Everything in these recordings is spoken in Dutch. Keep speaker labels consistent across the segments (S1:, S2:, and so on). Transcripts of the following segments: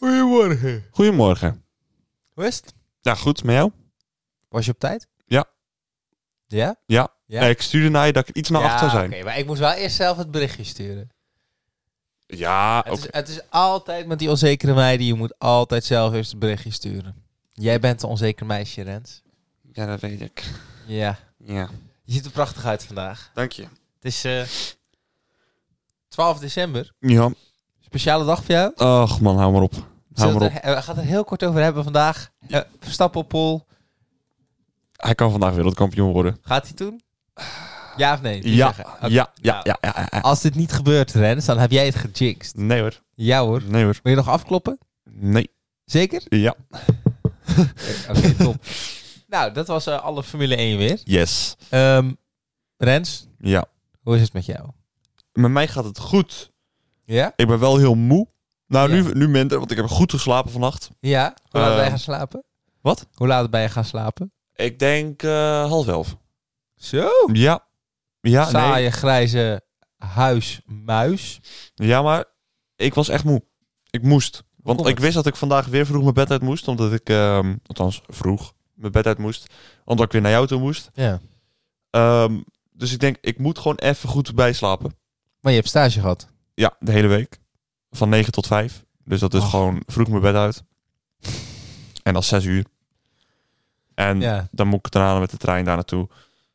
S1: Goedemorgen.
S2: Goedemorgen.
S1: Hoe is het?
S2: Ja, goed, met jou?
S1: Was je op tijd?
S2: Ja.
S1: Ja?
S2: Ja.
S1: Ja?
S2: Nee, Eh, ik stuurde naar je dat ik iets naar achter zou zijn.
S1: Oké, maar ik moest wel eerst zelf het berichtje sturen.
S2: Ja,
S1: Het,
S2: oké.
S1: is, het is altijd met die onzekere meiden, je moet altijd zelf eerst het berichtje sturen. Jij bent een onzeker meisje, Rens.
S2: ja, dat weet ik.
S1: Ja.
S2: Ja.
S1: Je ziet er prachtig uit vandaag.
S2: Dank je.
S1: Het is eh 12 december.
S2: Ja.
S1: Speciale dag voor jou.
S2: Ach man, hou maar op. Hou
S1: Zullen
S2: maar
S1: we
S2: op.
S1: het er- eh, we gaan het er heel kort over hebben vandaag. Eh Verstappen op pol.
S2: Hij kan vandaag wereldkampioen worden.
S1: Gaat hij doen? Ja of nee? Dus
S2: Ja.
S1: zeggen. Oké.
S2: Ja, ja,
S1: Nou,
S2: ja, ja, ja, ja.
S1: Als dit niet gebeurt, Rens, dan heb jij het gejinxed.
S2: Nee hoor.
S1: Ja hoor.
S2: Nee hoor.
S1: Wil je nog afkloppen?
S2: Nee.
S1: Zeker?
S2: Ja.
S1: Eh, Oké, top. nou, dat was eh, alle Formule 1 weer.
S2: Yes.
S1: Ehm, Rens,
S2: Ja.
S1: hoe is het met jou?
S2: Met mij gaat het goed.
S1: Ja?
S2: Ik ben wel heel moe.
S1: Ja.
S2: Nou, nu, nu minder, want ik heb goed geslapen vannacht.
S1: Ja? Hoe laat
S2: Ehm,
S1: ben je gaan slapen?
S2: wat?
S1: Hoe laat ben je gaan slapen?
S2: Ik denk eh, half elf.
S1: Zo?
S2: Ja. Ja, nee.
S1: Saaie, grijze huismuis.
S2: Ja, maar ik was echt moe. Ik moest. Want
S1: Kom
S2: ik
S1: het.
S2: wist dat ik vandaag weer vroeg mijn bed uit moest. Omdat ik, ehm, althans vroeg, mijn bed uit moest. Omdat ik weer naar jou toe moest.
S1: Ja.
S2: Ehm, dus ik denk, ik moet gewoon even goed bijslapen.
S1: Maar je hebt stage gehad.
S2: Ja, de hele week. Van 9 tot 5. Dus dat is
S1: Och.
S2: gewoon vroeg mijn bed uit. En dan 6 uur. En
S1: Ja.
S2: dan moet ik daarna met de trein daar naartoe.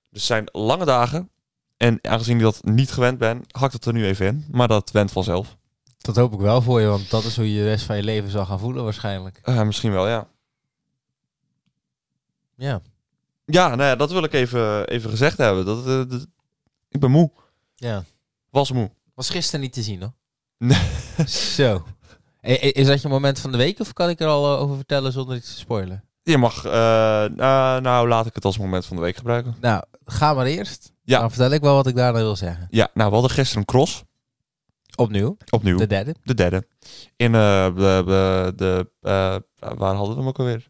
S2: Dus het zijn lange dagen. En aangezien ik dat niet gewend ben, hak ik dat er nu even in. Maar dat went vanzelf.
S1: Dat hoop ik wel voor je, want dat is hoe je de rest van je leven zal gaan voelen waarschijnlijk.
S2: Eh, misschien wel, ja.
S1: Ja.
S2: Ja, nou ja, dat wil ik even, even gezegd hebben. Dat, eh, dat- ik ben moe.
S1: Ja.
S2: Was moe.
S1: Was gisteren niet te zien, hoor.
S2: Nee.
S1: Zo. Eh, eh, Is dat je moment van de week of kan ik er al eh, over vertellen zonder iets te spoilen?
S2: Je mag, eh, eh, nou laat ik het als moment van de week gebruiken.
S1: Nou, ga maar eerst.
S2: Ja.
S1: Dan vertel ik wel wat ik daarna wil zeggen.
S2: Ja, nou we hadden gisteren een cross.
S1: Opnieuw,
S2: Opnieuw.
S1: de
S2: De,
S1: derde.
S2: derde. In eh, de, de, de eh, waar hadden we hem ook alweer?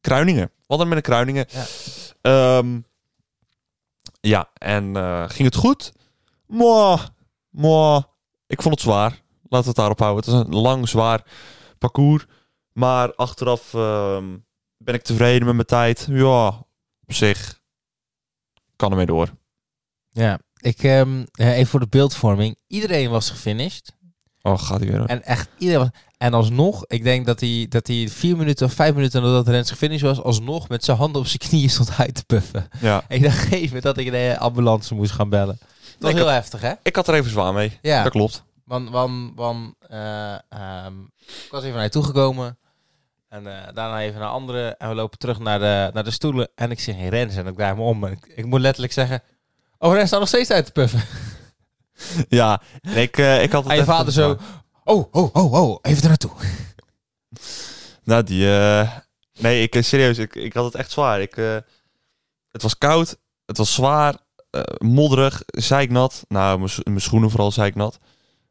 S2: Kruiningen. We hadden hem in de Kruiningen.
S1: Ja.
S2: Ehm, ja, en eh, ging het goed? Mwah, mwah. Ik vond het zwaar. Laten we het daarop houden. Het is een lang, zwaar parcours. Maar achteraf ehm, ben ik tevreden met mijn tijd. Ja, op zich kan ermee door.
S1: Ja, ik, ehm, eh, even voor de beeldvorming. Iedereen was gefinished.
S2: Oh, gaat hij weer. hoor.
S1: En echt iedereen was... En alsnog, ik denk dat hij, dat hij vier minuten of vijf minuten nadat Rens gefinished was, alsnog met zijn handen op zijn knieën stond uit te puffen.
S2: Ja.
S1: En ik dacht even dat ik de ambulance moest gaan bellen. Dat was
S2: Ik
S1: heel heftig, hè?
S2: Ik had er even zwaar mee.
S1: Ja.
S2: Dat klopt.
S1: Want, want, want eh, ehm, ik was even naar je toegekomen. En eh, daarna even naar anderen. En we lopen terug naar de, naar de stoelen. En ik zie geen Rens. En ik draai me om. En ik, ik moet letterlijk zeggen... Oh, Rens staat nog steeds uit te puffen.
S2: Ja, ik, eh, ik had het
S1: En je
S2: echt
S1: vader
S2: zwaar.
S1: zo... Oh, oh, oh, oh. Even er naartoe.
S2: Nou, die... eh, Nee, ik, eh, serieus, ik, ik had het echt zwaar. Ik, eh, het was koud, het was zwaar, eh, modderig, zeiknat. Nou, mijn scho- mijn schoenen vooral zeiknat.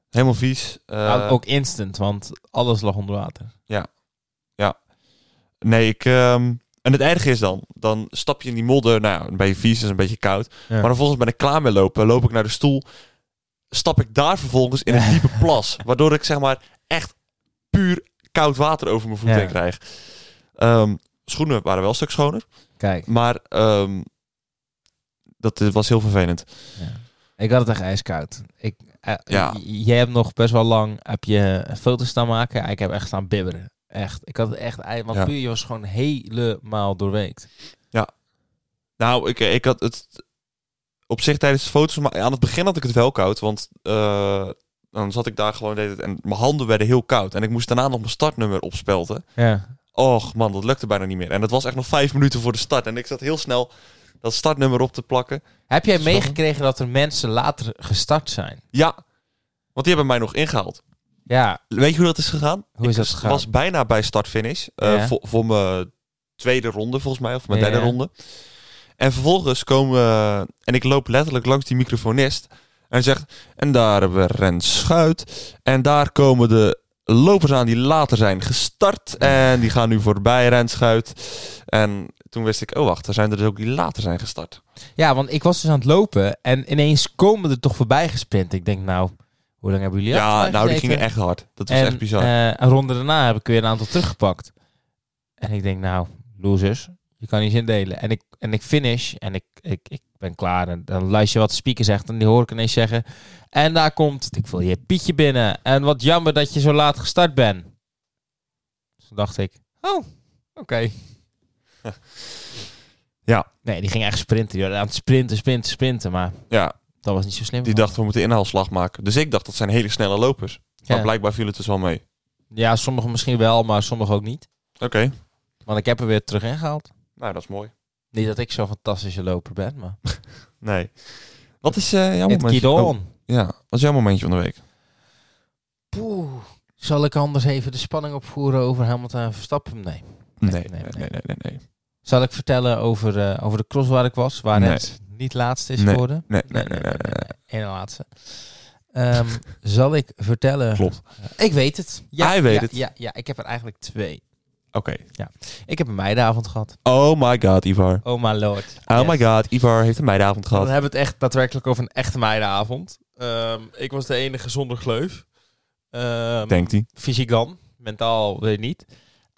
S2: Helemaal vies. Eh,
S1: Nou, ook instant, want alles lag onder water.
S2: Nee, ik... ehm, En het ergste is dan, dan stap je in die modder, nou ja, een beetje vies, is een beetje koud. Maar vervolgens ben ik klaar mee lopen, loop ik naar de stoel, stap ik daar vervolgens in een diepe plas. Waardoor ik zeg maar echt puur koud water over mijn voeten
S1: Ja.
S2: heen krijg. Ehm, schoenen waren wel een stuk schoner.
S1: Kijk,
S2: Maar ehm, dat is- was heel vervelend.
S1: ik had het echt ijskoud. Ik, eh,
S2: Ja.
S1: j- Jij hebt nog best wel lang heb je foto's staan maken. Ik heb echt staan bibberen. Echt. Ik had het echt... ij- Want
S2: Ja.
S1: puur, je was gewoon helemaal doorweekt.
S2: Nou, ik, ik had het op zich tijdens de foto's, maar aan het begin had ik het wel koud, want eh, dan zat ik daar gewoon deed het en mijn handen werden heel koud en ik moest daarna nog mijn startnummer opspelten.
S1: Ja.
S2: Och man, dat lukte bijna niet meer. En dat was echt nog vijf minuten voor de start en ik zat heel snel dat startnummer op te plakken.
S1: Heb jij
S2: Snap je?
S1: meegekregen dat er mensen later gestart zijn?
S2: Ja, want die hebben mij nog ingehaald.
S1: Ja.
S2: Weet je hoe dat is gegaan?
S1: Hoe is dat
S2: Ik
S1: gegaan?
S2: was bijna bij start-finish. eh,
S1: Ja.
S2: voor, voor mijn tweede ronde, volgens mij. Of mijn
S1: Ja.
S2: derde ronde. En vervolgens komen we... En ik loop letterlijk langs die microfonist. En hij zegt... En daar hebben we Rens Schuit. En daar komen de lopers aan die later zijn gestart. En die gaan nu voorbij Rens Schuit. En toen wist ik... Oh, wacht. Er zijn er dus ook die later zijn gestart.
S1: Ja, want ik was dus aan het lopen en ineens komen er toch voorbij gesprint. Ik denk, nou, hoe Hoe lang hebben jullie
S2: Ja,
S1: afgelegd,
S2: nou, die
S1: zeker?
S2: gingen echt hard. Dat was
S1: en,
S2: echt bizar.
S1: eh, een ronde daarna heb ik weer een aantal teruggepakt. En ik denk, nou, losers, je kan niet zin delen. En ik, en ik finish en ik, ik, ik ben klaar. En dan luister je wat de speaker zegt en die hoor ik ineens zeggen. En daar komt, ik wil je Pietje binnen. En wat jammer dat je zo laat gestart bent. Dus toen dacht ik, oh, oké.
S2: Ja.
S1: Nee, die ging echt sprinten. joh. Aan het sprinten, sprinten, sprinten. Maar
S2: ja,
S1: dat was niet zo slim.
S2: die
S1: van
S2: dachten we moeten inhaalslag maken. Dus ik dacht dat zijn hele snelle lopers.
S1: me.
S2: Maar
S1: ja.
S2: blijkbaar viel het dus wel mee.
S1: ja, sommigen misschien wel, maar sommigen ook niet.
S2: Oké,
S1: Want ik heb er weer terug ingehaald.
S2: nou dat is mooi.
S1: Niet dat ik zo'n fantastische loper ben, maar...
S2: Nee. Wat is eh, jouw
S1: Het
S2: momentje?
S1: keep
S2: Oh,
S1: on.
S2: ja, wat is jouw momentje van de week?
S1: Poeh. Zal ik anders even de spanning opvoeren over Hamilton en Verstappen? Nee.
S2: Nee,
S1: nee,
S2: nee,
S1: nee,
S2: nee,
S1: nee,
S2: nee, nee. Nee,
S1: Zal ik vertellen over, eh, over de cross waar ik was, waar
S2: Nee.
S1: het niet laatste is
S2: Nee.
S1: geworden?
S2: nee, nee, nee, nee, nee.
S1: Eén laatste. Ehm, zal ik vertellen...
S2: Klopt.
S1: Ik weet het.
S2: Hij weet
S1: ja,
S2: het.
S1: Ja, ja, ik heb er eigenlijk twee.
S2: Oké.
S1: Ik heb een meidenavond gehad.
S2: Oh my god, Ivar.
S1: Oh my lord.
S2: Oh
S1: Yes.
S2: my god, Ivar heeft een meidenavond
S1: Dan
S2: gehad.
S1: hebben we het echt daadwerkelijk over een echte meidenavond. Ehm, ik was de enige zonder gleuf. Ehm,
S2: Denkt hij.
S1: fysiek dan, mentaal weet ik niet.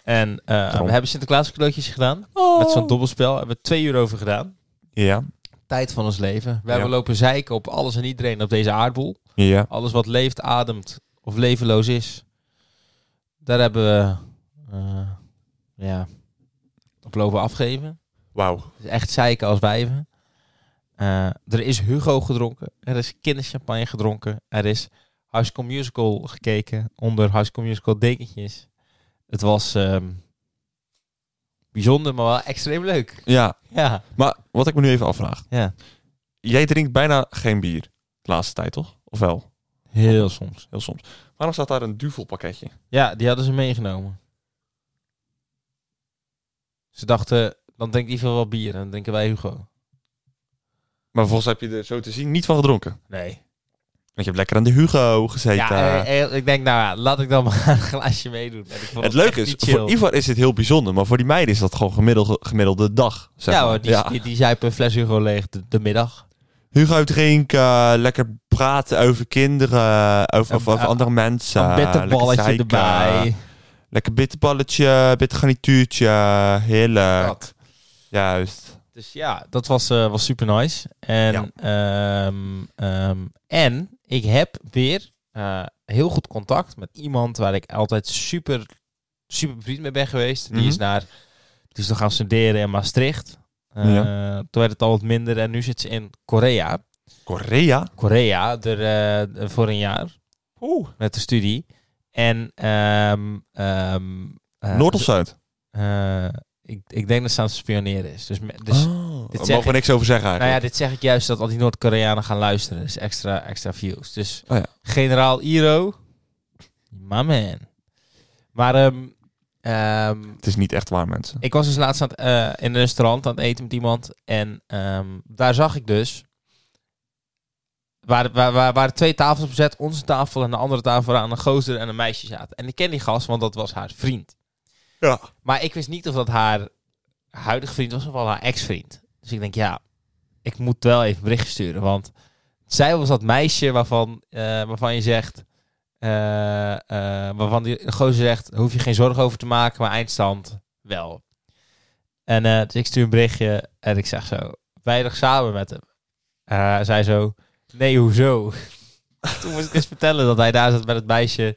S1: En eh, we
S2: Daarom.
S1: hebben Sinterklaas cadeautjes gedaan. Met zo'n dobbelspel hebben we twee uur over gedaan.
S2: Oh. Ja,
S1: Tijd van ons leven. We
S2: Ja.
S1: hebben lopen zeiken op alles en iedereen op deze aardbol.
S2: ja.
S1: Alles wat leeft, ademt of levenloos is. Daar hebben we eh, ja, op lopen afgeven.
S2: Wauw.
S1: Dus echt zeiken als wijven. Eh, er is Hugo gedronken. Er is kinderchampagne gedronken. Er is High School Musical gekeken. Onder High School Musical dekentjes. Het was ehm, bijzonder, maar wel extreem leuk.
S2: Ja,
S1: Ja.
S2: maar wat ik me nu even afvraag.
S1: ja.
S2: Jij drinkt bijna geen bier de laatste tijd, toch? Of wel?
S1: Heel soms.
S2: Heel soms. Waarom staat daar een duvelpakketje?
S1: Ja, die hadden ze meegenomen. Ze dachten, dan drinkt ieder wel bier. En dan drinken wij Hugo.
S2: Maar volgens heb je er zo te zien niet van gedronken.
S1: Nee.
S2: Want je hebt lekker aan de Hugo gezeten.
S1: Ja, eh, eh, ik denk, nou ja, laat ik dan maar een glaasje meedoen. En ik vond
S2: het
S1: het
S2: leuke
S1: echt
S2: is,
S1: niet chill.
S2: voor Ivar is dit heel bijzonder. Maar voor die meiden is dat gewoon gemiddelde, gemiddelde dag. Zeg
S1: ja
S2: maar.
S1: hoor, die, die, die zuipen een fles Hugo leeg de, de middag.
S2: Hugo drinken, eh, lekker praten over kinderen, over, over, over
S1: eh,
S2: andere mensen.
S1: Een bitterballetje
S2: lekker zeiken.
S1: erbij.
S2: Lekker bitterballetje, bittergarnituurtje. Heerlijk.
S1: Dat.
S2: Juist.
S1: Dus ja, dat was, eh, was super nice. En, ehm, ehm, en ik heb weer eh, heel goed contact met iemand waar ik altijd super, super bevriend mee ben geweest. Die
S2: Mhm.
S1: is naar, die is nog gaan studeren in Maastricht. Eh, Toen werd het al wat minder en nu zit ze in Korea.
S2: Korea?
S1: Korea, er, eh, voor een jaar
S2: Oeh.
S1: met de studie. En ehm, ehm, eh,
S2: Noord of Zuid?
S1: eh, ik, ik denk dat ze aan het spioneren is. Dus, me- dus
S2: oh, daar
S1: zeg
S2: mogen we
S1: ik-
S2: niks over zeggen
S1: Nou ja,
S2: eigenlijk.
S1: dit zeg ik juist dat al die Noord-Koreanen gaan luisteren. Dus extra, extra views. Dus
S2: Oh ja.
S1: generaal Iro, my man. Maar ehm, ehm,
S2: Het is niet echt waar, mensen.
S1: ik was dus laatst aan het, eh, in een restaurant aan het eten met iemand. En ehm, daar zag ik dus... Waar, waar, waar, waren twee tafels op bezet. Onze tafel en de andere tafel waar aan een gozer en een meisje zaten. En ik ken die gast, want dat was haar vriend.
S2: Ja.
S1: Maar ik wist niet of dat haar huidige vriend was of al haar ex-vriend. Dus ik denk, ja, ik moet wel even een berichtje sturen. Want zij was dat meisje waarvan, eh, waarvan je zegt... eh, eh, waarvan die gozer zegt, hoef je geen zorgen over te maken, maar eindstand wel. En eh, dus ik stuur een berichtje en ik zeg zo, wij nog samen met hem. Eh zij zo, nee, hoezo? Toen moest ik eens vertellen dat hij daar zat met het meisje.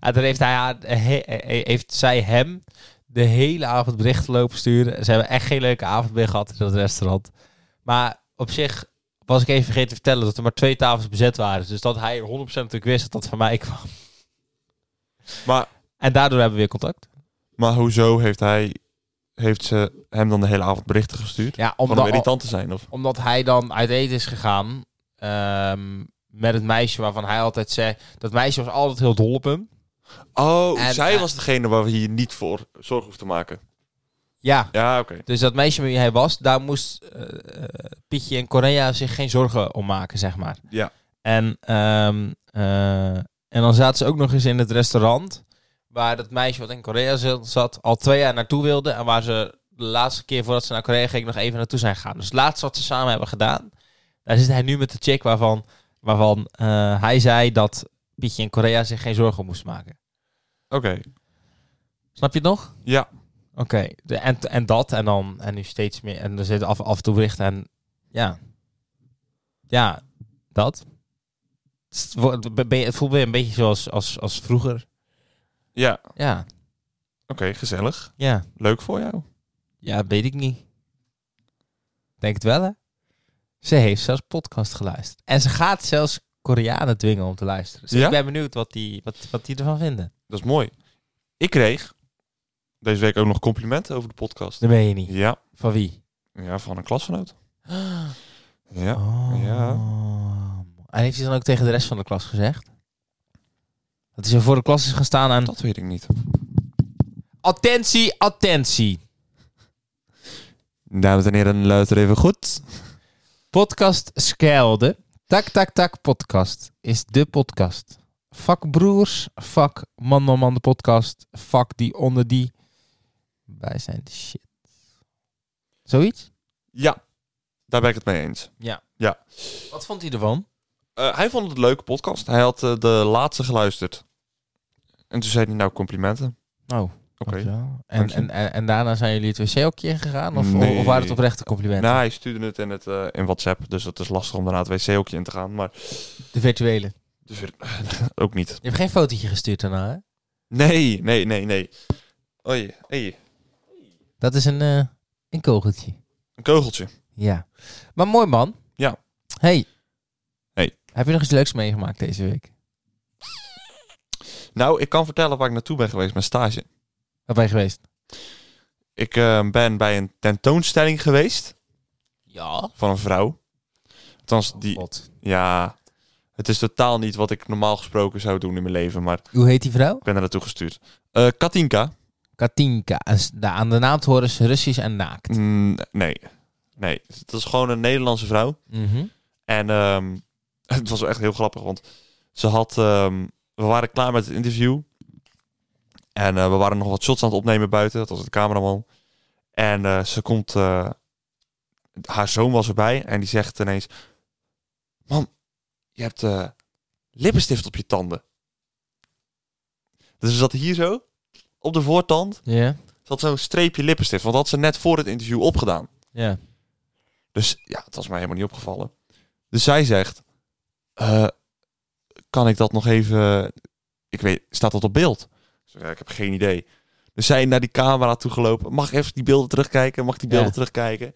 S1: En toen heeft, hij haar, he- he- heeft zij hem de hele avond berichten lopen sturen. Ze hebben echt geen leuke avond meer gehad in dat restaurant. Maar op zich was ik even vergeten te vertellen dat er maar twee tafels bezet waren. Dus dat hij 100% natuurlijk wist dat dat van mij kwam.
S2: Maar,
S1: En daardoor hebben we weer contact.
S2: maar hoezo heeft hij... Heeft ze hem dan de hele avond berichten gestuurd?
S1: Ja,
S2: Gewoon om irritant te zijn, of?
S1: omdat hij dan uit eten is gegaan ehm, met het meisje waarvan hij altijd zei... Dat meisje was altijd heel dol op hem.
S2: Oh,
S1: En,
S2: zij
S1: eh,
S2: was degene waar we hier niet voor zorgen hoeven te maken.
S1: Ja,
S2: Ja, oké.
S1: dus dat meisje met wie hij was, daar moest eh, eh, Pietje en Correa zich geen zorgen om maken, zeg maar.
S2: Ja.
S1: En, ehm, eh, en dan zaten ze ook nog eens in het restaurant waar dat meisje wat in Korea zat- zat al twee jaar naartoe wilde en waar ze de laatste keer voordat ze naar Korea ging nog even naartoe zijn gegaan. Dus het laatste wat ze samen hebben gedaan, daar zit hij nu met de chick waarvan Waarvan eh, hij zei dat Pietje in Korea zich geen zorgen om moest maken.
S2: Oké.
S1: Snap je het nog?
S2: Ja.
S1: Oké, de- en, en dat en dan en nu steeds meer. En er zitten af, af en toe berichten en ja. Ja, dat. Het, is- wordt- ben je- het voelt weer een beetje zoals als, als vroeger.
S2: Ja. Oké,
S1: Ja,
S2: gezellig.
S1: ja.
S2: Leuk voor jou.
S1: Ja, weet ik niet. Denk het wel, hè? Ze heeft zelfs podcast geluisterd. En ze gaat zelfs Koreanen dwingen om te luisteren. Dus
S2: Ja?
S1: ik ben benieuwd wat die, wat, wat die ervan vinden.
S2: Dat is mooi. Ik kreeg deze week ook nog complimenten over de podcast.
S1: Dat ben je niet.
S2: Ja.
S1: Van wie?
S2: Ja, van een klasgenoot. Ah. Ja.
S1: Oh.
S2: ja.
S1: En heeft hij dan ook tegen de rest van de klas gezegd? Dat hij zo voor de klas is gaan staan en...
S2: Dat weet ik niet.
S1: Attentie, attentie.
S2: Dames en heren, luister even goed.
S1: Podcast Skelde. Tak, tak, tak, podcast. Is de podcast. Fuck broers. Fuck man, man, man, de podcast. Fuck die onder die. Wij zijn de shit. Zoiets?
S2: Ja, daar ben ik het mee eens.
S1: Wat vond hij ervan?
S2: Eh, hij vond het een leuke podcast. Hij had eh, de laatste geluisterd. En toen zei hij nou complimenten.
S1: Oh,
S2: Oké.
S1: dankjewel. En,
S2: Dank je.
S1: en, en, en daarna zijn jullie het wc keer gegaan? Of,
S2: Nee.
S1: of waren het oprechte complimenten?
S2: Nou, hij stuurde het in, het, eh, in WhatsApp. Dus dat is lastig om daarna het wc-hokje in te gaan. Maar
S1: De virtuele.
S2: dus weer- ook niet.
S1: Je hebt geen fotootje gestuurd daarna, hè?
S2: Nee, nee, nee, nee. Oei, hey,
S1: Dat is een, eh, een kogeltje.
S2: een keugeltje.
S1: Ja. Maar mooi man.
S2: Ja.
S1: Hey.
S2: Hey.
S1: Heb je nog iets leuks meegemaakt deze week?
S2: Nou, ik kan vertellen waar ik naartoe ben geweest met stage.
S1: Waar ben je geweest?
S2: Ik eh, ben bij een tentoonstelling geweest
S1: Ja.
S2: van een vrouw. Althans,
S1: Oh,
S2: die, ja, het is totaal niet wat ik normaal gesproken zou doen in mijn leven, maar
S1: Hoe heet die vrouw?
S2: ik ben er naartoe gestuurd. Eh, Katinka?
S1: Katinka. En s- da- aan de naam te horen is Russisch en naakt.
S2: Mm, nee, nee. Het is gewoon een Nederlandse vrouw.
S1: Mhm.
S2: En ehm, het was wel echt heel grappig, want ze had. ehm, we waren klaar met het interview. En eh, we waren nog wat shots aan het opnemen buiten. Dat was de cameraman. En eh, ze komt. eh, haar zoon was erbij en die zegt ineens: Mam, je hebt eh, lippenstift op je tanden. Dus ze zat hier zo, op de voortand.
S1: Ja.
S2: Ze had zo'n streepje lippenstift, want dat had ze net voor het interview opgedaan.
S1: Ja.
S2: Dus ja, het was mij helemaal niet opgevallen. Dus zij zegt, eh, kan ik dat nog even... Ik weet, staat dat op beeld? Ik zeg, ja, ik heb geen idee. Dus zij naar die camera toe gelopen. Mag ik even die beelden terugkijken? Mag ik die beelden
S1: Ja.
S2: terugkijken?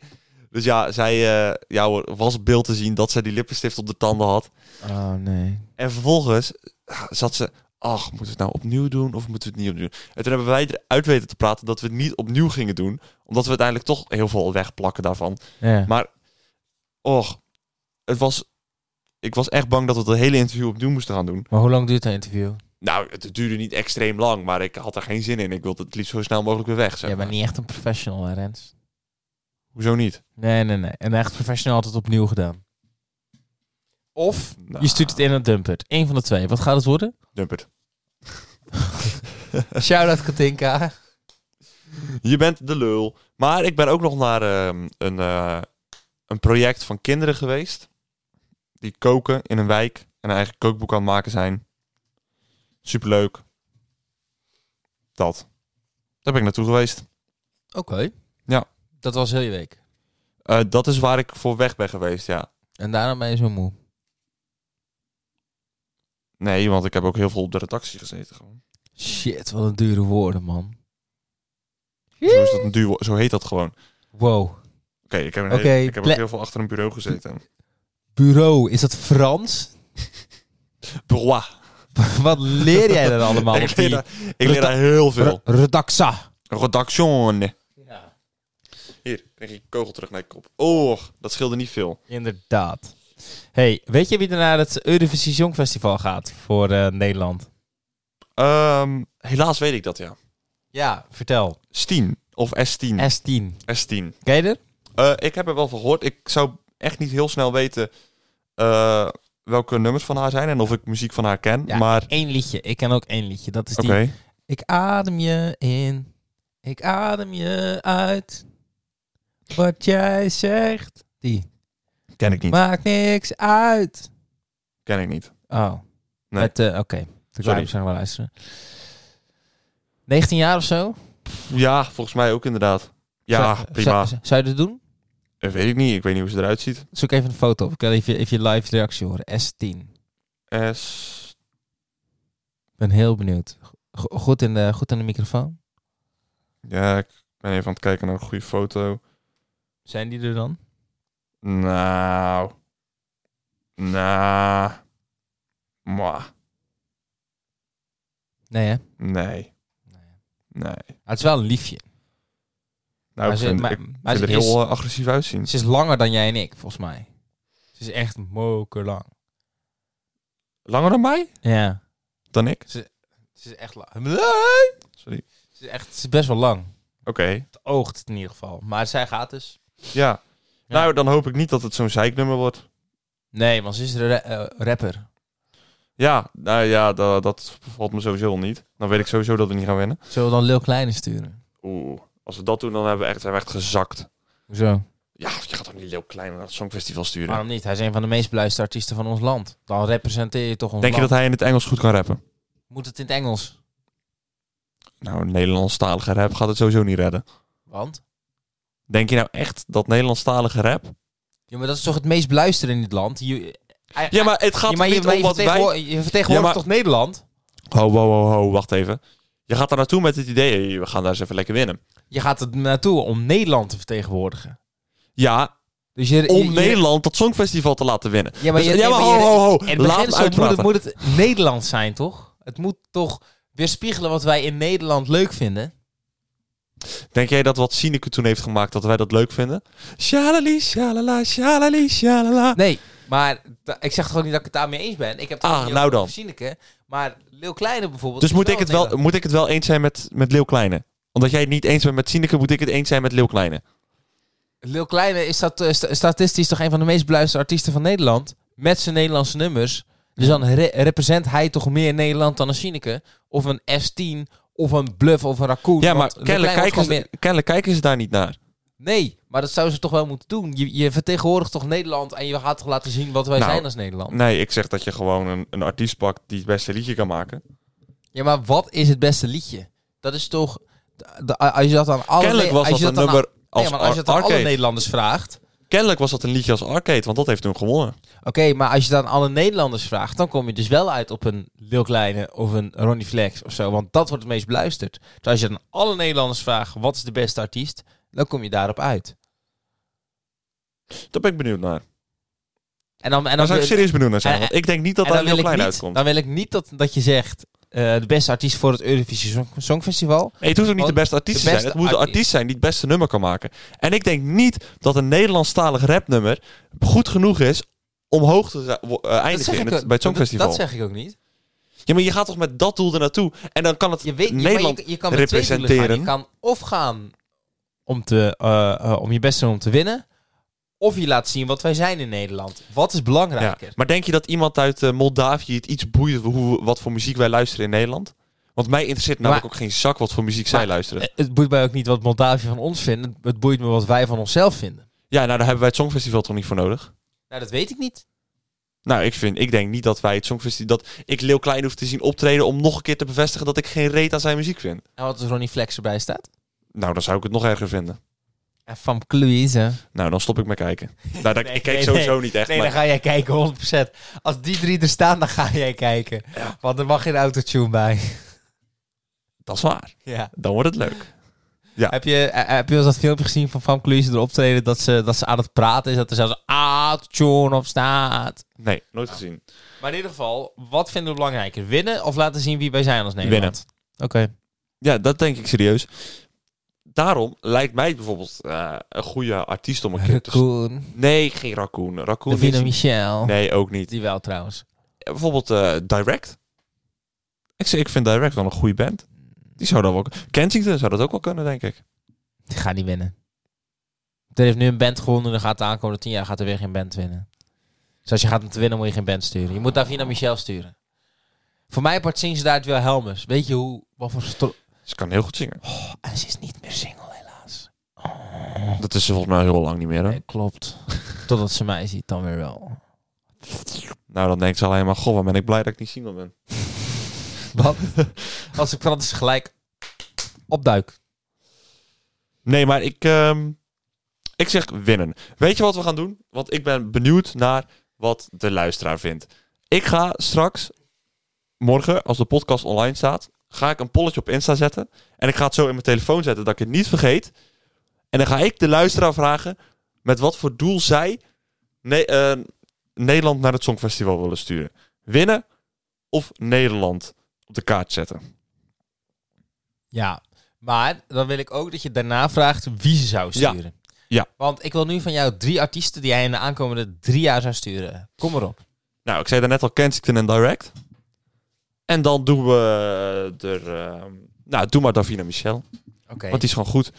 S2: Dus ja, zij eh, ja, hoor, was op beeld te zien dat zij die lippenstift op de tanden had.
S1: Oh nee.
S2: En vervolgens ah, zat ze... Ach, moeten we het nou opnieuw doen of moeten we het niet opnieuw doen? En toen hebben wij eruit weten te praten dat we het niet opnieuw gingen doen. Omdat we uiteindelijk toch heel veel wegplakken daarvan.
S1: Ja.
S2: Maar, och, het was... Ik was echt bang dat we het hele interview opnieuw moesten gaan doen.
S1: Maar hoe lang duurt dat interview?
S2: Nou, het duurde niet extreem lang, maar ik had er geen zin in. Ik wilde het liefst zo snel mogelijk weer weg, zeg
S1: Jij bent
S2: maar.
S1: niet echt een professional, hè, Rens?
S2: Hoezo niet?
S1: Nee, nee, nee. En echt professional altijd opnieuw gedaan. Of
S2: Nou,
S1: je stuurt het in een dumpert. Eén van de twee. Wat gaat het worden?
S2: dump het.
S1: Shout-out Katinka.
S2: Je bent de lul. Maar ik ben ook nog naar ehm, een, eh, een project van kinderen geweest. Die koken in een wijk en een eigen kookboek aan het maken zijn. Superleuk. Dat. Daar ben ik naartoe geweest.
S1: Oké.
S2: Ja.
S1: Dat was heel je week.
S2: Eh, dat is waar ik voor weg ben geweest, ja.
S1: En daarna ben je zo moe.
S2: Nee, want ik heb ook heel veel op de redactie gezeten. Gewoon.
S1: Shit, wat een dure woorden, man. Hm.
S2: Zo, is dat een duo, zo heet dat gewoon. Oké,
S1: Wow.
S2: ik heb, een
S1: Oké,
S2: hele- ik heb ook
S1: ple-
S2: heel veel achter een bureau gezeten.
S1: Bureau, is dat Frans?
S2: Boah.
S1: wat leer jij dan allemaal op
S2: Ik leer
S1: die
S2: daar, ik leer daar heel
S1: re-
S2: veel.
S1: redaxa?
S2: Redaction.
S1: Ja.
S2: Hier, krijg je kogel terug naar je kop. Oh, dat scheelde niet veel.
S1: Inderdaad. Hey, weet je wie er naar het Eurovisie Songfestival gaat voor eh, Nederland?
S2: Ehm, helaas weet ik dat, ja.
S1: Ja, vertel.
S2: Steen of S10.
S1: S10.
S2: S10.
S1: Ken je er?
S2: Eh, ik heb er wel van gehoord. Ik zou echt niet heel snel weten eh, welke nummers van haar zijn en of ik muziek van haar ken.
S1: Ja.
S2: Maar,
S1: Eén liedje. Ik ken ook één liedje. Dat is
S2: oké.
S1: die. Ik adem je in. Ik adem je uit. Wat jij zegt. Die.
S2: Ken ik niet.
S1: Maakt niks uit.
S2: Ken ik niet.
S1: Oh.
S2: Nee.
S1: Met, eh, Oké, dan kan
S2: Sorry.
S1: je misschien nog wel luisteren. 19 jaar of zo?
S2: Ja, volgens mij ook inderdaad. Ja,
S1: Zou-
S2: prima.
S1: Zou, zou je dat doen?
S2: Eh, weet ik niet. Ik weet niet hoe ze eruit ziet.
S1: Zoek even een foto op. Ik wil even, even je live reactie horen. S10.
S2: S...
S1: Ik ben heel benieuwd. Go- goed, in de, goed in de microfoon.
S2: Ja, ik ben even aan het kijken naar een goede foto.
S1: Zijn die er dan?
S2: Nou. Nou. Mwah.
S1: Nee, hè?
S2: Nee.
S1: Nee.
S2: Nee.
S1: Ah, het is wel een liefje.
S2: Nou, ik
S1: ze-
S2: vind,
S1: maar-
S2: ik
S1: maar
S2: vind
S1: ze
S2: er
S1: is-
S2: heel eh, agressief uitzien.
S1: Ze is langer dan jij en ik, volgens mij. Ze is echt mokerlang.
S2: Langer dan mij?
S1: Ja.
S2: Dan ik?
S1: Ze is echt lang.
S2: Sorry.
S1: Ze is, echt, ze is best wel lang.
S2: Oké.
S1: Het oogt het in ieder geval. Maar zij gaat dus.
S2: Ja. Nou, dan hoop ik niet dat het zo'n zeiknummer wordt.
S1: Nee, want ze is een ra- eh, rapper.
S2: Ja, nou ja, da- dat bevalt me sowieso niet. Dan weet ik sowieso dat we niet gaan winnen.
S1: Zullen we dan Lil Kleine sturen?
S2: Oeh, als we dat doen, dan hebben we echt, zijn we echt gezakt.
S1: Hoezo?
S2: Ja, je gaat toch niet heel klein naar het Songfestival sturen?
S1: Waarom niet? Hij is een van de meest beluisterde artiesten van ons land. Dan representeer je toch ons
S2: Denk je dat
S1: land.
S2: hij in het Engels goed kan rappen?
S1: Moet het in het Engels?
S2: Nou, een Nederlandstalige rap gaat het sowieso niet redden.
S1: Want?
S2: Denk je nou echt dat Nederlandstalige rap...
S1: Ja, maar dat is toch het meest beluisteren in dit land? Je, hij-
S2: Ja, maar het gaat
S1: Ja, maar
S2: er
S1: je,
S2: niet
S1: maar
S2: om
S1: je
S2: wat wij...
S1: vertegenwoor- je vertegenwoordigt
S2: Ja, maar-
S1: toch Nederland?
S2: Ho, ho, ho, ho, wacht even. Je gaat daar naartoe met het idee, hey, we gaan daar eens even lekker winnen.
S1: Je gaat er naartoe om Nederland te vertegenwoordigen.
S2: Ja,
S1: Dus je,
S2: om
S1: je- je-
S2: Nederland dat Songfestival te laten winnen.
S1: Ja, maar,
S2: Dus-
S1: je,
S2: ja, maar
S1: je-
S2: ho, ho, ho.
S1: in het
S2: Laat
S1: begin
S2: me
S1: zo moet, het,
S2: uitpraten.
S1: moet het Nederlands zijn, toch? Het moet toch weerspiegelen wat wij in Nederland leuk vinden.
S2: Denk jij dat wat Sineke toen heeft gemaakt, dat wij dat leuk vinden? Shalali, shalala, shalali, shalala.
S1: Nee, maar da- ik zeg toch ook niet dat ik het daarmee eens ben. Ik heb het
S2: Ah,
S1: ook niet
S2: nou
S1: over
S2: dan.
S1: Sineke, maar Leeuw Kleine bijvoorbeeld.
S2: Dus
S1: is
S2: moet ik, het wel,
S1: Nederland.
S2: moet ik het wel eens zijn met, met Leeuw Kleine? Omdat jij het niet eens bent met Sineke, moet ik het eens zijn met Leeuw Kleine.
S1: Leeuw Kleine is stat- eh, sta- statistisch toch een van de meest beluisterde artiesten van Nederland. Met zijn Nederlandse nummers. Dus dan re- represent hij toch meer Nederland dan een Sineke. Of een S10, of een Bluff, of een Raccoon.
S2: Ja, maar
S1: want Leeuw
S2: kennelijk
S1: Kleine
S2: kijken,
S1: was
S2: ze,
S1: gewoon meer-
S2: kennelijk kijken ze daar niet naar.
S1: Nee, maar dat zou ze toch wel moeten doen. Je, je vertegenwoordigt toch Nederland en je gaat toch laten zien wat wij
S2: Nou.
S1: zijn als Nederland.
S2: Nee, ik zeg dat je gewoon een, een artiest pakt die het beste liedje kan maken.
S1: Ja, maar wat is het beste liedje? Dat is toch... de- de- Als je dat aan alle...
S2: kennelijk was
S1: als
S2: dat
S1: je
S2: een
S1: aan-
S2: nummer als,
S1: Nee, maar als je het
S2: ar-
S1: aan alle
S2: arcade.
S1: Nederlanders vraagt...
S2: Kennelijk was dat een liedje als arcade, want dat heeft toen gewonnen.
S1: Oké, maar als je het aan alle Nederlanders vraagt... dan kom je dus wel uit op een Lil Kleine of een Ronnie Flex of zo. Want dat wordt het meest beluisterd. Dus als je het aan alle Nederlanders vraagt... wat is de beste artiest? Dan kom je daarop uit.
S2: Daar ben ik benieuwd naar.
S1: En dan, en
S2: Daar
S1: dan,
S2: zou ik serieus benieuwd naar zijn,
S1: en-
S2: want ik denk niet dat
S1: en
S2: daar Leeuw
S1: wil ik
S2: Kleine
S1: niet,
S2: uitkomt.
S1: Dan wil ik niet dat, dat je zegt... eh, de beste artiest voor het Eurovisie Song- Songfestival.
S2: Nee, het hoeft ook niet de
S1: Want
S2: beste artiest
S1: Oh, de
S2: te zijn.
S1: beste
S2: Het moet de
S1: artiest-
S2: artiest zijn die het beste nummer kan maken. En ik denk niet dat een Nederlandstalig rapnummer goed genoeg is om hoog te za- wo- eh,
S1: Dat zeg
S2: eindigen in
S1: ik
S2: het,
S1: ook-
S2: bij het
S1: dat-
S2: Songfestival.
S1: Dat, zeg ik ook niet.
S2: Ja, maar je gaat toch met dat doel er naartoe en dan kan het
S1: Je weet je- maar
S2: Nederland
S1: je, je kan met twee doelen
S2: representeren.
S1: gaan. Je kan of gaan om, te, eh, eh, om je best te doen om te winnen. Of je laat zien wat wij zijn in Nederland. Wat is
S2: Ja.
S1: belangrijker?
S2: Maar denk je dat iemand uit eh, Moldavië het iets boeit hoe, wat voor muziek wij luisteren in Nederland? Want mij interesseert namelijk ook geen zak wat voor muziek zij
S1: Maar-
S2: luisteren.
S1: Eh, Het boeit mij ook niet wat Moldavië van ons vindt. Het- Het boeit me wat wij van onszelf vinden.
S2: Ja, nou daar hebben wij het Songfestival toch niet voor nodig?
S1: Nou, dat weet ik niet.
S2: Nou, ik, vind, ik denk niet dat wij het Songfestival... dat ik Leeuw Klein hoef te zien optreden om nog een keer te bevestigen dat ik geen reet aan zijn muziek vind.
S1: En wat als Ronnie Flex erbij staat?
S2: Nou, dan zou ik het nog erger vinden.
S1: En Van Cluise.
S2: Nou, dan stop ik met kijken. Nou, dat,
S1: Nee,
S2: ik keek
S1: nee,
S2: sowieso niet echt.
S1: Nee,
S2: maar-
S1: dan ga jij kijken, 100%. Als die drie er staan, dan ga jij kijken. Want er mag geen autotune bij.
S2: Dat is waar.
S1: Ja.
S2: Dan wordt het leuk.
S1: Heb je, eh, heb je wel eens dat filmpje gezien van Van Cluise erop optreden dat ze, dat ze aan het praten is? Dat er zelfs autotune op staat.
S2: Nee, nooit gezien.
S1: Maar in ieder geval, wat vinden we belangrijker? Winnen of laten zien wie wij zijn als Nederland? Oké.
S2: Ja, dat denk ik serieus. Daarom lijkt mij bijvoorbeeld eh, een goede artiest om een keer te...
S1: dus Raccoon,
S2: Nee, geen Raccoon. Raccoon
S1: Davina
S2: is...
S1: Michel.
S2: Nee, ook niet.
S1: Die wel trouwens.
S2: Eh, Bijvoorbeeld eh, Direct. Ik, zeg- ik vind Direct wel een goede band. Die zou dat wel... Kensington zou dat ook wel kunnen, denk ik.
S1: Die gaat niet winnen. Er heeft nu een band gewonnen dan gaat de aankomende tien jaar gaat er weer geen band winnen. Dus als je gaat om te winnen moet je geen band sturen. Je moet Davina Michel sturen. Voor mij part zien ze daar het wel Helmers. Weet je hoe... Wat voor stro-
S2: Ze kan heel goed zingen.
S1: Oh, en ze is niet meer single helaas.
S2: Oh. Dat is ze volgens mij heel lang niet meer, hè?
S1: Nee, klopt. Totdat ze mij ziet, dan weer wel.
S2: Nou, dan denkt ze alleen maar, goh, wat ben ik blij dat ik niet single ben.
S1: Want als ik Frans gelijk opduik.
S2: Nee, maar ik, ehm, ik zeg winnen. Weet je wat we gaan doen? Want ik ben benieuwd naar wat de luisteraar vindt. Ik ga straks, morgen, als de podcast online staat, ga ik een polletje op Insta zetten. En ik ga het zo in mijn telefoon zetten dat ik het niet vergeet. En dan ga ik de luisteraar vragen met wat voor doel zij ne- eh, Nederland naar het Songfestival willen sturen. Winnen of Nederland op de kaart zetten.
S1: Ja. Maar dan wil ik ook dat je daarna vraagt wie ze zou
S2: Ja.
S1: sturen.
S2: Ja.
S1: Want ik wil nu van jou drie artiesten die jij in de aankomende drie jaar zou sturen. Kom erop.
S2: Nou, ik zei daarnet al Kensington en Direct. En dan doen we er... ehm, nou, doe maar Davina Michel.
S1: Oké.
S2: Want die is gewoon goed.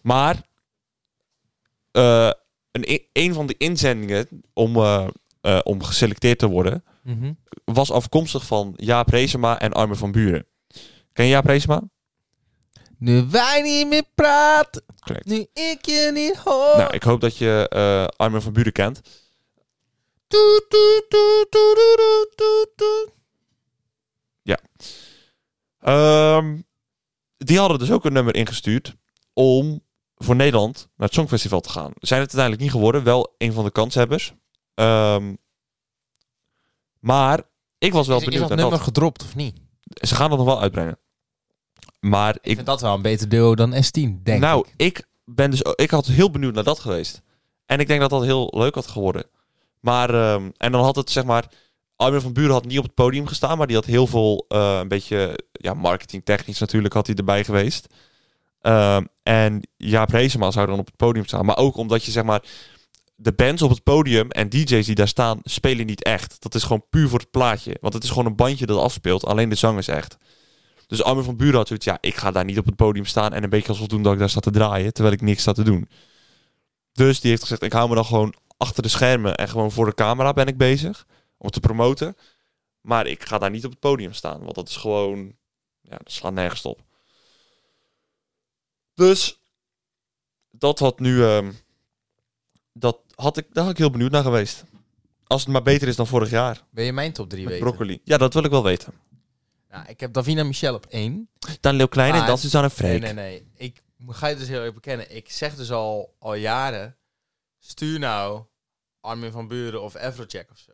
S2: Maar... eh, een, i- een van de inzendingen om, eh, eh, om geselecteerd te worden...
S1: Mhm.
S2: was afkomstig van Jaap Reesema en Armin van Buren. Ken je Jaap Reesema?
S1: Nu wij niet meer praten.
S2: Correct.
S1: Nu ik je niet hoor.
S2: Nou, ik hoop dat je eh, Armin van Buren kent.
S1: Toet, toet, toet, toet, toet, toet, toet.
S2: Ehm, die hadden dus ook een nummer ingestuurd om voor Nederland naar het Songfestival te gaan. Zijn het uiteindelijk niet geworden, wel een van de kanshebbers. Ehm, maar ik was wel
S1: Is, is
S2: benieuwd
S1: dat
S2: naar
S1: nummer
S2: dat.
S1: gedropt of niet?
S2: Ze gaan dat nog wel uitbrengen. Maar
S1: Ik
S2: ik,
S1: vind dat wel een beter duo dan S10, denk
S2: nou,
S1: ik.
S2: ben dus, ik had heel benieuwd naar dat geweest. En ik denk dat dat heel leuk had geworden. Maar, ehm, en dan had het zeg maar, Armin van Buren had niet op het podium gestaan, maar die had heel veel, eh, een beetje, ja, marketingtechnisch natuurlijk had hij erbij geweest. Ehm, en Jaap Reesema zou dan op het podium staan. Maar ook omdat je zeg maar, de bands op het podium en DJ's die daar staan, spelen niet echt. Dat is gewoon puur voor het plaatje. Want het is gewoon een bandje dat afspeelt, alleen de zang is echt. Dus Armin van Buren had zoiets, ja, ik ga daar niet op het podium staan en een beetje alsof doen dat ik daar sta te draaien, terwijl ik niks sta te doen. Dus die heeft gezegd, ik hou me dan gewoon achter de schermen en gewoon voor de camera ben ik bezig om te promoten. Maar ik ga daar niet op het podium staan, want dat is gewoon, ja, dat slaat nergens op. Dus dat had nu, ehm, dat had ik, daar had ik heel benieuwd naar geweest. Als het maar beter is dan vorig jaar
S1: Wil je mijn top 3
S2: met
S1: weten?
S2: broccoli. Ja, dat wil ik wel weten.
S1: Nou, ik heb Davina Michel op 1.
S2: Dan Leeuw Klein en
S1: Ah,
S2: dan Suzanne Freek.
S1: Nee, nee, nee. Ik ga je dus heel erg bekennen. Ik zeg dus al, al jaren, stuur nou Armin van Buren of Afrojack of zo.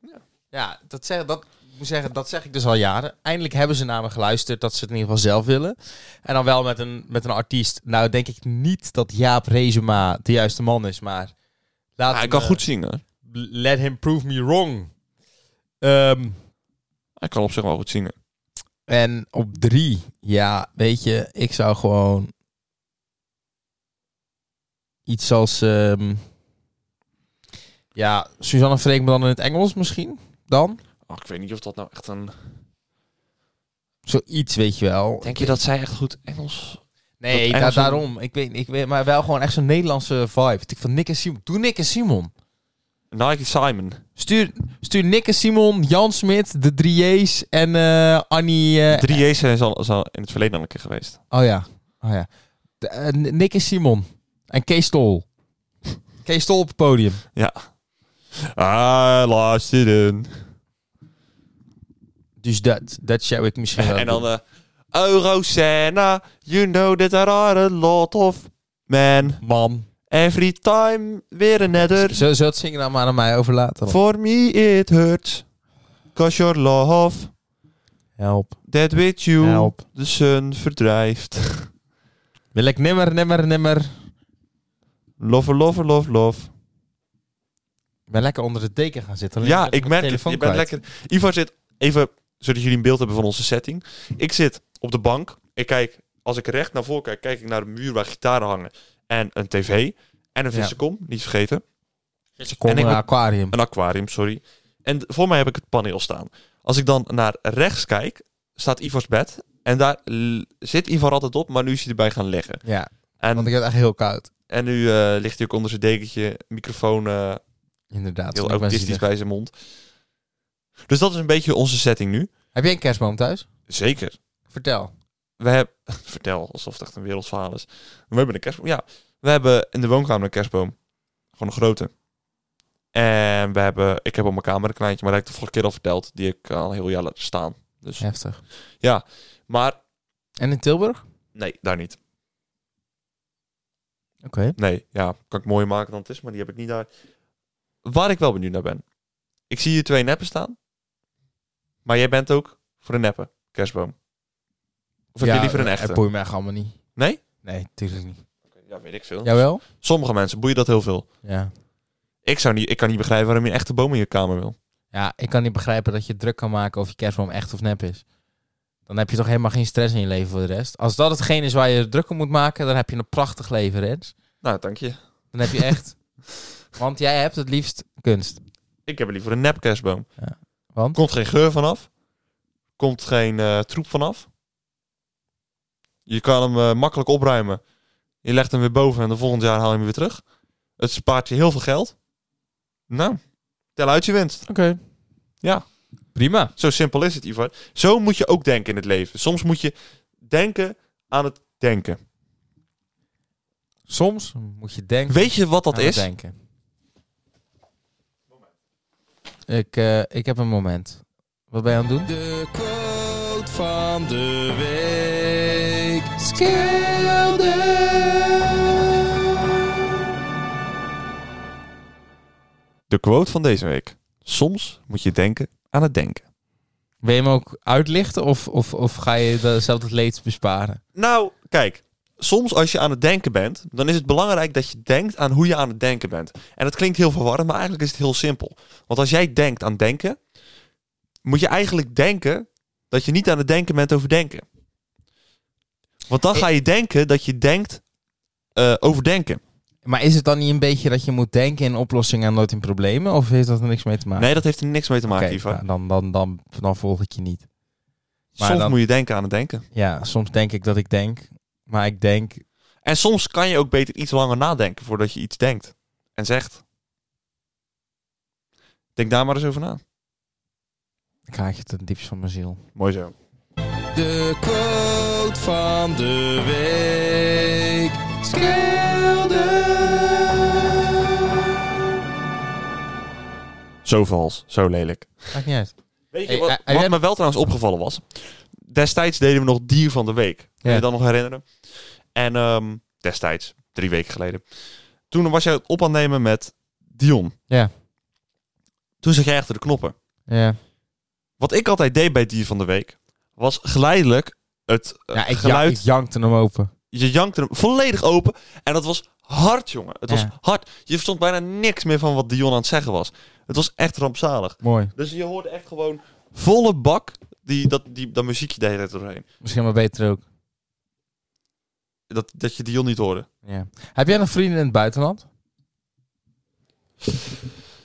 S2: Ja.
S1: Ja, dat zeg, dat, ik moet zeggen, dat zeg ik dus al jaren. Eindelijk hebben ze naar me geluisterd dat ze het in ieder geval zelf willen. En dan wel met een, met een artiest. Nou denk ik niet dat Jaap Rezema de juiste man is, maar... Laat
S2: Ah, hij
S1: hem,
S2: kan
S1: eh,
S2: goed zingen.
S1: Let him prove me wrong. Ehm,
S2: Hij kan op zich wel goed zingen.
S1: en op drie, ja, weet je, ik zou gewoon iets als, ehm, ja, Suzanne Freek, maar dan in het Engels misschien, dan.
S2: Oh, ik weet niet of dat nou echt een...
S1: Zoiets, weet je wel.
S2: Denk je dat zij echt goed Engels...
S1: Nee,
S2: dat
S1: da-
S2: Engels-
S1: daarom. Ik weet, ik weet, maar wel gewoon echt zo'n Nederlandse vibe. Ik van Nick en Simon. Doe Nick en Simon.
S2: Nike Simon.
S1: Stuur, stuur Nick en Simon, Jan Smit, de drie J's en eh, Annie. eh,
S2: Drie J's zijn al, is al in het verleden al een keer geweest.
S1: Oh ja. Oh ja. De, eh, Nick en Simon. En Kees Stol. Kees Stol op het podium.
S2: I lost it in.
S1: Dus dat, dat zou ik misschien wel
S2: En dan... eh oh, Rosanna, you know that there are a lot of men.
S1: doen. Man.
S2: Every time weer een nether.
S1: Zo, zo het zingen dan maar aan mij overlaten.
S2: For me it hurts. Cause your love,
S1: Help.
S2: that with you,
S1: Help.
S2: the sun verdrijft.
S1: Wil ik nimmer, nimmer, nimmer.
S2: Love, love, love, love.
S1: Ik ben lekker onder de deken gaan zitten. alleen
S2: Ja,
S1: ben mijn
S2: ik merk het.
S1: telefoon
S2: Je bent
S1: kwijt.
S2: lekker... Ivar zit even, zodat jullie een beeld hebben van onze setting. Ik zit op de bank. Ik kijk, als ik recht naar voren kijk, kijk ik naar de muur waar gitaren hangen. En een tv. En een
S1: Ja.
S2: vissenkom, niet vergeten.
S1: Kom
S2: En ik
S1: naar
S2: moet-
S1: aquarium.
S2: Een aquarium, sorry. En d- voor mij heb ik het paneel staan. Als ik dan naar rechts kijk, staat Ivars bed. En daar l- zit Ivar altijd op, maar nu is hij erbij gaan liggen.
S1: Ja, want
S2: En,
S1: ik heb echt heel koud. En
S2: en nu eh, ligt hij ook onder zijn dekentje, microfoon... eh,
S1: Inderdaad.
S2: heel
S1: want ik ben
S2: autistisch
S1: zielig.
S2: bij zijn mond. Dus dat is een beetje onze setting nu.
S1: Heb jij een kerstboom thuis?
S2: Zeker.
S1: Vertel.
S2: We hebben... Vertel, alsof het echt een wereldverhaal is. We hebben een kerstboom. Ja, we hebben in de woonkamer een kerstboom. Gewoon een grote. En we hebben, ik heb op mijn kamer een kleintje, maar dat heb ik de vorige keer al verteld. Die ik al een heel jaar laat staan. Dus ja.
S1: Heftig.
S2: Maar
S1: En in Tilburg? Oké.
S2: nee, daar niet. Nee, ja, kan ik mooier maken dan het is, maar die heb ik niet daar. Waar ik wel benieuwd naar ben. Ik zie hier twee neppen staan. Maar jij bent ook voor een neppe kerstboom. Of heb je liever een echte?
S1: Dat eh, boeit me echt allemaal niet.
S2: Nee?
S1: Nee, tuurlijk niet.
S2: Oké, ja, weet ik veel.
S1: Jawel?
S2: Sommige mensen boeien dat heel veel.
S1: Ja.
S2: Ik, zou niet, ik kan niet begrijpen waarom je een echte boom in je kamer wil.
S1: Ja, ik kan niet begrijpen dat je druk kan maken of je kerstboom echt of nep is. Dan heb je toch helemaal geen stress in je leven voor de rest. Als dat hetgeen is waar je druk om moet maken, dan heb je een prachtig leven, Rens.
S2: Nou, dank je.
S1: Dan heb je echt... Want jij hebt het liefst kunst.
S2: Ik heb liever een nep kerstboom.
S1: Ja, want?
S2: Komt geen geur vanaf. Komt geen eh, troep vanaf. Je kan hem eh, makkelijk opruimen. Je legt hem weer boven en de volgend jaar haal je hem weer terug. Het spaart je heel veel geld. Nou, tel uit je winst.
S1: Oké.
S2: Ja.
S1: Prima.
S2: Zo simpel is het, Ivar. Zo moet je ook denken in het leven. Soms moet je denken aan het denken.
S1: Soms moet je denken...
S2: Weet je wat dat
S1: aan het
S2: is?
S1: Denken. Ik, eh, ik heb een moment. Wat ben je aan het doen? De quote van de week.
S2: De quote van deze week. Soms moet je denken aan het denken.
S1: Wil je hem ook uitlichten of, of, of ga je de- zelf het leed besparen?
S2: Nou, kijk. Soms als je aan het denken bent, dan is het belangrijk dat je denkt aan hoe je aan het denken bent. En dat klinkt heel verwarrend, maar eigenlijk is het heel simpel. Want als jij denkt aan denken, moet je eigenlijk denken dat je niet aan het denken bent over denken. Want
S1: Eh,
S2: dan ga je denken dat je denkt eh, over denken.
S1: Maar is het dan niet een beetje dat je moet denken in oplossingen en nooit in problemen? Of heeft dat er niks mee te maken?
S2: Nee, dat heeft er niks mee te maken,
S1: Oké,
S2: Ivar.
S1: nou, dan, dan, dan, dan volg ik je niet. maar
S2: soms
S1: dan-
S2: moet je denken aan het denken.
S1: Ja, soms denk ik dat ik denk. Maar ik denk,
S2: En soms kan je ook beter iets langer nadenken voordat je iets denkt en zegt. Denk daar maar eens over na.
S1: ik raak je ten diepste van mijn ziel.
S2: Mooi zo.
S1: De quote van de week.
S2: Zo vals, zo lelijk.
S1: Maakt niet uit.
S2: Weet
S1: Hey, eh,
S2: wat,
S1: hij- hij
S2: wat
S1: werd-
S2: me wel trouwens opgevallen was? Destijds deden we nog dier van de week. Kun je
S1: Ja.
S2: je dat nog herinneren? En ehm, destijds, drie weken geleden. Toen was jij het op aan het nemen met Dion.
S1: Ja.
S2: Toen zat jij achter de knoppen.
S1: Ja.
S2: Wat ik altijd deed bij dier van de week... was geleidelijk het eh,
S1: Ja, ik, ja,
S2: geluid...
S1: ik jankte hem open.
S2: Je jankte hem volledig open. En dat was hard, jongen. Het was
S1: Ja.
S2: hard. Je verstond bijna niks meer van wat Dion aan het zeggen was. Het was echt rampzalig.
S1: Mooi.
S2: Dus je hoort echt gewoon volle bak die, dat, die, dat muziekje de hele tijd doorheen.
S1: Misschien maar beter ook.
S2: Dat, dat je Dion niet hoorde.
S1: Ja. Heb jij nog vrienden in het buitenland?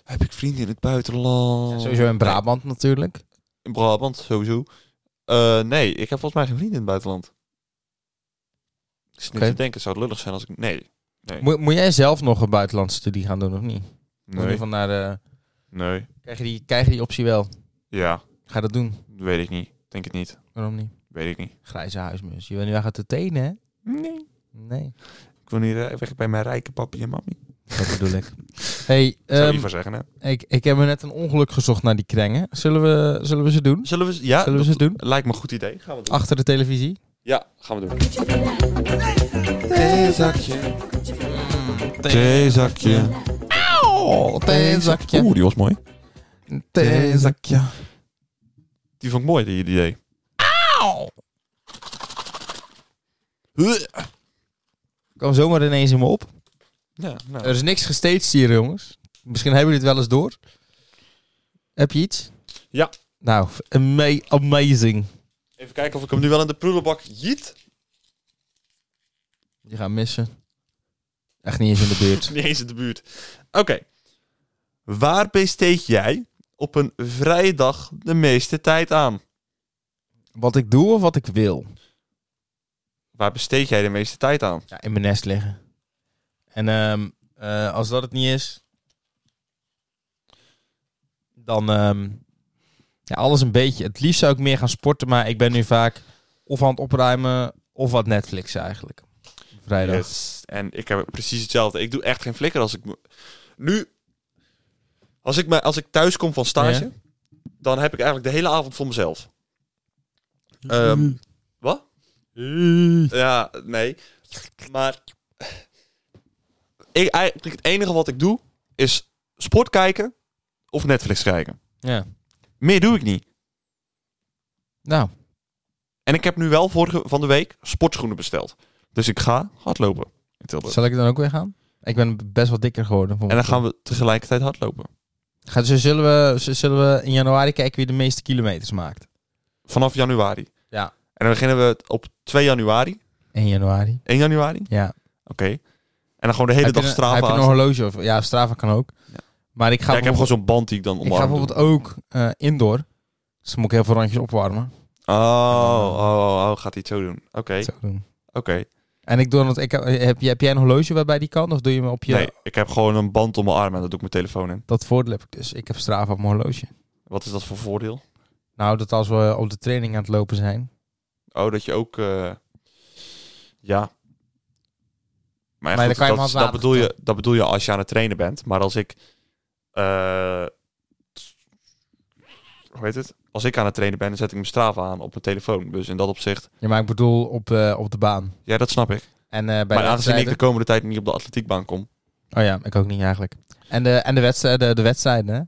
S2: Heb ik vrienden in het buitenland?
S1: Sowieso in Brabant natuurlijk.
S2: Nee, in Brabant, sowieso. Eh, nee, ik heb volgens mij geen vrienden in het buitenland. Ik zit nu
S1: Oké.
S2: te denken, zou het lullig zijn als ik... Nee.
S1: Moet, moet jij zelf nog een buitenlandse studie gaan doen of niet? Of in ieder
S2: Nee.
S1: geval naar, eh,
S2: Nee.
S1: krijg, je die, krijg je die optie wel?
S2: Ja,
S1: Ga je dat doen?
S2: weet ik niet. Denk het niet.
S1: Waarom niet?
S2: Weet ik niet.
S1: Grijze huismus. Je bent nu eigenlijk te tenen, hè?
S2: Nee.
S1: Nee.
S2: Ik wil niet eh, weg bij mijn rijke papi en mami.
S1: Dat bedoel ik. hey,
S2: Zou
S1: ehm,
S2: je van zeggen, hè?
S1: ik, ik heb me net een ongeluk gezocht naar die krengen. Zullen we, zullen we ze doen?
S2: Zullen we... ze- Ja,
S1: Zullen we ze
S2: dat
S1: doen?
S2: Lijkt me een goed idee. Gaan we doen.
S1: Achter de televisie?
S2: Ja, gaan we doen. Theezakje.
S1: Auw, Oh, theezakje.
S2: Oeh, die was mooi.
S1: Theezakje.
S2: Die vond ik mooi, die die idee.
S1: Auw. Kwam zomaar ineens in me op.
S2: Ja, nou.
S1: Er is niks gestaged hier, jongens. Misschien hebben jullie het wel eens door. Heb je iets?
S2: Ja.
S1: Nou, ama- amazing.
S2: Even kijken of ik hem nu wel in de prullenbak jiet.
S1: Je gaat missen. Echt niet eens in de buurt.
S2: Niet eens in de buurt. Oké. Waar besteed jij op een vrije dag de meeste tijd aan?
S1: Wat ik doe of wat ik wil?
S2: Waar besteed jij de meeste tijd aan?
S1: Ja, in mijn nest liggen. En ehm, eh, als dat het niet is, dan ehm, ja, alles een beetje. Het liefst zou ik meer gaan sporten, maar ik ben nu vaak of aan het opruimen of wat Netflix eigenlijk. Vrijdag.
S2: Yes. En ik heb precies hetzelfde. Ik doe echt geen flikker als ik... mo- Nu... Als ik, me, als ik thuis kom van stage,
S1: Ja.
S2: dan heb ik eigenlijk de hele avond voor mezelf.
S3: Ehm,
S2: Wat? Ja, nee. Maar ik, eigenlijk het enige wat ik doe is sport kijken of Netflix kijken.
S1: Ja.
S2: Meer doe ik niet.
S1: Nou,
S2: En ik heb nu wel vorige van de week sportschoenen besteld. Dus ik ga hardlopen in Tilburg.
S1: zal ik dan ook weer gaan? Ik ben best wel dikker geworden.
S2: En dan gaan we tegelijkertijd hardlopen.
S1: Gaan, dus zullen, we, z- zullen we in januari kijken wie de meeste kilometers maakt?
S2: Vanaf januari.
S1: Ja.
S2: En dan beginnen we het op 2 januari.
S1: 1 januari.
S2: 1 januari? Oké.
S1: Ja.
S2: En dan gewoon de hele
S1: heb
S2: dag
S1: je een-
S2: Strava.
S1: Heb je een horloge? Of, ja, Strava kan ook. Maar ik ga
S2: Ja, ik heb
S1: bijvoorbeeld-
S2: gewoon zo'n band die ik dan
S1: ik ga
S2: omarm doe.
S1: bijvoorbeeld ook eh, indoor. Dus dan moet ik heel veel randjes opwarmen.
S2: Oh, oh, oh, oh, gaat hij het zo doen. Oké,
S1: Zo doen.
S2: oké.
S1: En ik doe dat. Ik, heb, heb, je- heb jij een horloge waarbij die kan? Of doe je hem op je.
S2: Nee, ik heb gewoon een band om mijn arm en daar doe ik mijn telefoon in.
S1: Dat voordeel heb ik dus. Ik heb Strava op mijn horloge.
S2: Wat is dat voor voordeel?
S1: Nou, dat als we op de training aan het lopen zijn.
S2: Oh, dat je ook... eh, Ja. Maar,
S1: Maar
S2: ja,
S1: dan
S2: goed,
S1: kan je hem
S2: dat,
S1: als
S2: dat,
S1: wapen
S2: bedoel je, dat bedoel je als je aan het trainen bent. Maar als ik... eh, hoe heet het? Als ik aan het trainen ben, dan zet ik mijn Strava aan op mijn telefoon. Dus in dat opzicht...
S1: Ja, maar ik bedoel op, eh, op de baan.
S2: Ja, dat snap ik.
S1: En eh, bij de
S2: maar aangezien ik
S1: wedstrijden.
S2: de komende tijd niet op de atletiekbaan kom...
S1: Oh ja, ik ook niet eigenlijk. En de, en de, wedstrijden, de, de wedstrijden, hè?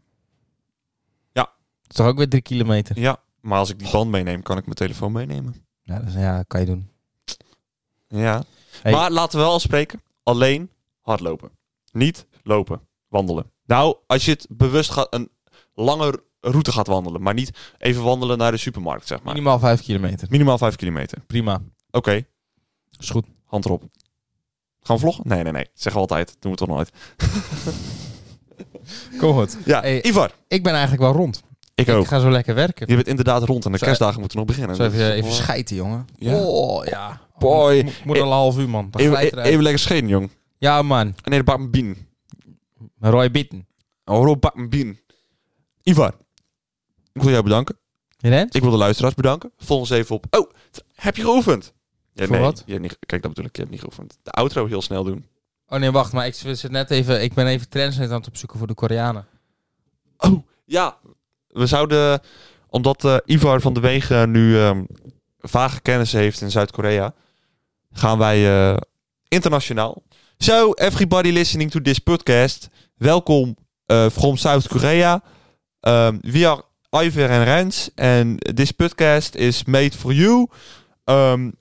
S2: Ja.
S1: Dat is toch ook weer drie kilometer?
S2: Ja, maar als ik die band meeneem, kan ik mijn telefoon meenemen.
S1: Ja, dat is- ja dat kan je doen.
S2: Ja.
S1: Hey.
S2: Maar laten we wel afspreken. Alleen hardlopen. Niet lopen. Wandelen. Nou, als je het bewust gaat, een lange route gaat wandelen. Maar niet even wandelen naar de supermarkt, zeg maar.
S1: Minimaal vijf kilometer.
S2: Minimaal 5 kilometer.
S1: Prima.
S2: Oké,
S1: Is goed.
S2: hand erop. Gaan we vloggen? Nee, nee, nee. Zeg altijd. Doen we toch nooit.
S1: Kom goed.
S2: Ja,
S1: Hey.
S2: Ivar.
S1: Ik ben eigenlijk wel rond.
S2: Ik
S1: Ik
S2: ook.
S1: ga zo lekker werken.
S2: Je bent inderdaad rond en de
S1: Zo-
S2: kerstdagen moeten nog beginnen.
S1: Zo even,
S2: Dus-
S1: even schijten, jongen.
S2: Ja.
S1: Oh, ja.
S2: Boy. E-
S1: Ik moet, moet al een half uur, man. Dan
S2: Even,
S1: glijdt
S2: even,
S1: eruit.
S2: lekker schenen, jong.
S1: Ja, man.
S2: Nee, bak mijn bien.
S1: Roy Bitten.
S2: Horo bak mijn bien. Ivar, ik wil jou bedanken.
S1: Rens?
S2: Dus Ik wil de luisteraars bedanken. Volg ons even op. Oh, t- heb je geoefend? Ja,
S1: Voor wat?
S2: Je hebt niet, kijk, dat bedoel ik. Je hebt niet geoefend. De outro heel snel doen.
S1: Oh nee, wacht. Maar ik, zit net even, ik ben even Translate aan het opzoeken voor de Koreanen.
S2: Oh, ja. We zouden, omdat eh, Ivar van de Wegen nu ehm, vage kennis heeft in Zuid-Korea, gaan wij eh, internationaal. So, everybody listening to this podcast, welkom eh, from South Korea. Um, we are Ivar en Rens and this podcast is made for you. Um,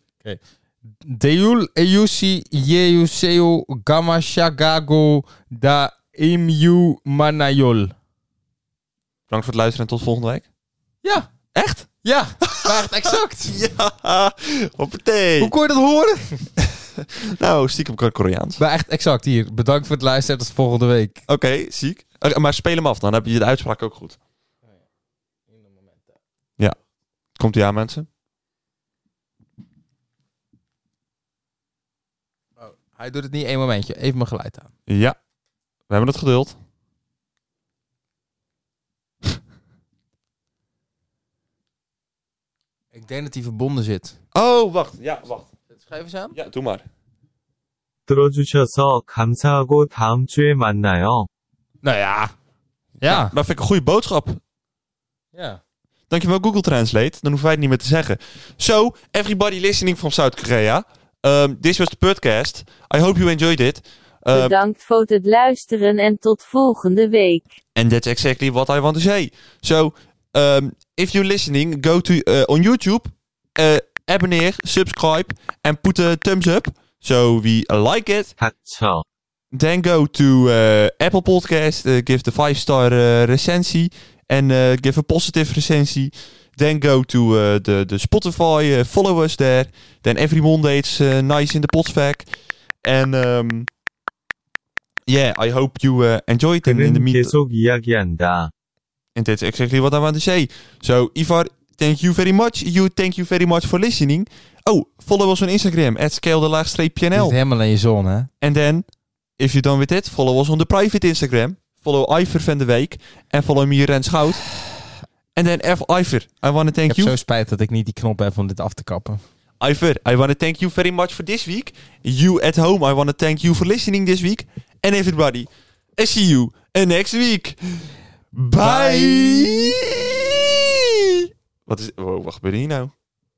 S1: Deul Eusi Yeuseo Gamashagago Da Imyu Manayol.
S2: Bedankt voor het luisteren en tot volgende week.
S1: Ja,
S2: Echt?
S1: ja. Maar echt exact.
S2: Ja, hoppatee.
S1: Hoe kon je dat horen?
S2: Nou, stiekem kan ik Koreaans.
S1: Maar echt exact hier. Bedankt voor het luisteren. Tot volgende week.
S2: Oké, ziek. Eh, Maar speel hem af, dan heb je de uitspraak ook goed. Ja. Komt ie aan, mensen?
S1: Oh, Hij doet het niet één momentje. Even mijn geluid aan.
S2: Ja. We hebben het geduld.
S1: Ik denk dat hij verbonden zit.
S2: Oh, wacht. Ja, wacht.
S1: Schrijf eens aan.
S2: Ja, doe maar.
S3: 들어주셔서 감사하고 다음 주에 만나요.
S1: Nou ja. Ja.
S2: Dat vind ik een goede boodschap.
S1: Ja.
S2: Dankjewel Google Translate. Dan hoeven wij het niet meer te zeggen. So, everybody listening from South Korea. Um, this was the podcast. I hope you enjoyed it. Um,
S4: Bedankt voor het luisteren en tot volgende week.
S2: And that's exactly what I want to say. So, um, if you're listening, go to uh, on YouTube, uh, abonneer, subscribe, and put a thumbs up. So we like it.
S3: 닥쳐.
S2: Then go to uh, Apple Podcast, uh, give the five star uh, recensie, and uh, give a positive recensie. Then go to uh, the the Spotify, uh, follow us there. Then every Monday it's uh, nice in the Potsvac. And um, yeah, I hope you uh, enjoyed it. In the
S3: 그는
S2: meet-
S3: 계속 이야기한다.
S2: And that's exactly what I want to say. So, Ivar, thank you very much. You thank you very much for listening. Oh, follow us on Instagram at
S1: Zit
S2: scale-pnl.
S1: helemaal in je zon, hè?
S2: And then, if you're done with it, follow us on the private Instagram. Follow Ivar van de Week. And follow me, Rens Schout. And then, F. Ivar, I want to
S1: Ik
S2: thank
S1: heb zo
S2: you.
S1: spijt dat ik niet die knop heb om dit af te kappen.
S2: Ivar, I want to thank you very much for this week. You at home, I want to thank you for listening this week. And everybody, I see you uh, next week. Bye! Wat is... Wow, wat gebeurt hier nou?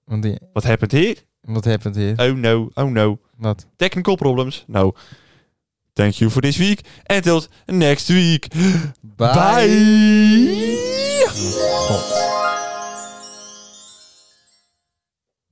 S1: Want die,
S2: Wat happened here?
S1: wat happened hier?
S2: Oh no, oh no.
S1: Wat?
S2: Technical problems? No. Thank you for this week. Until next week. Bye.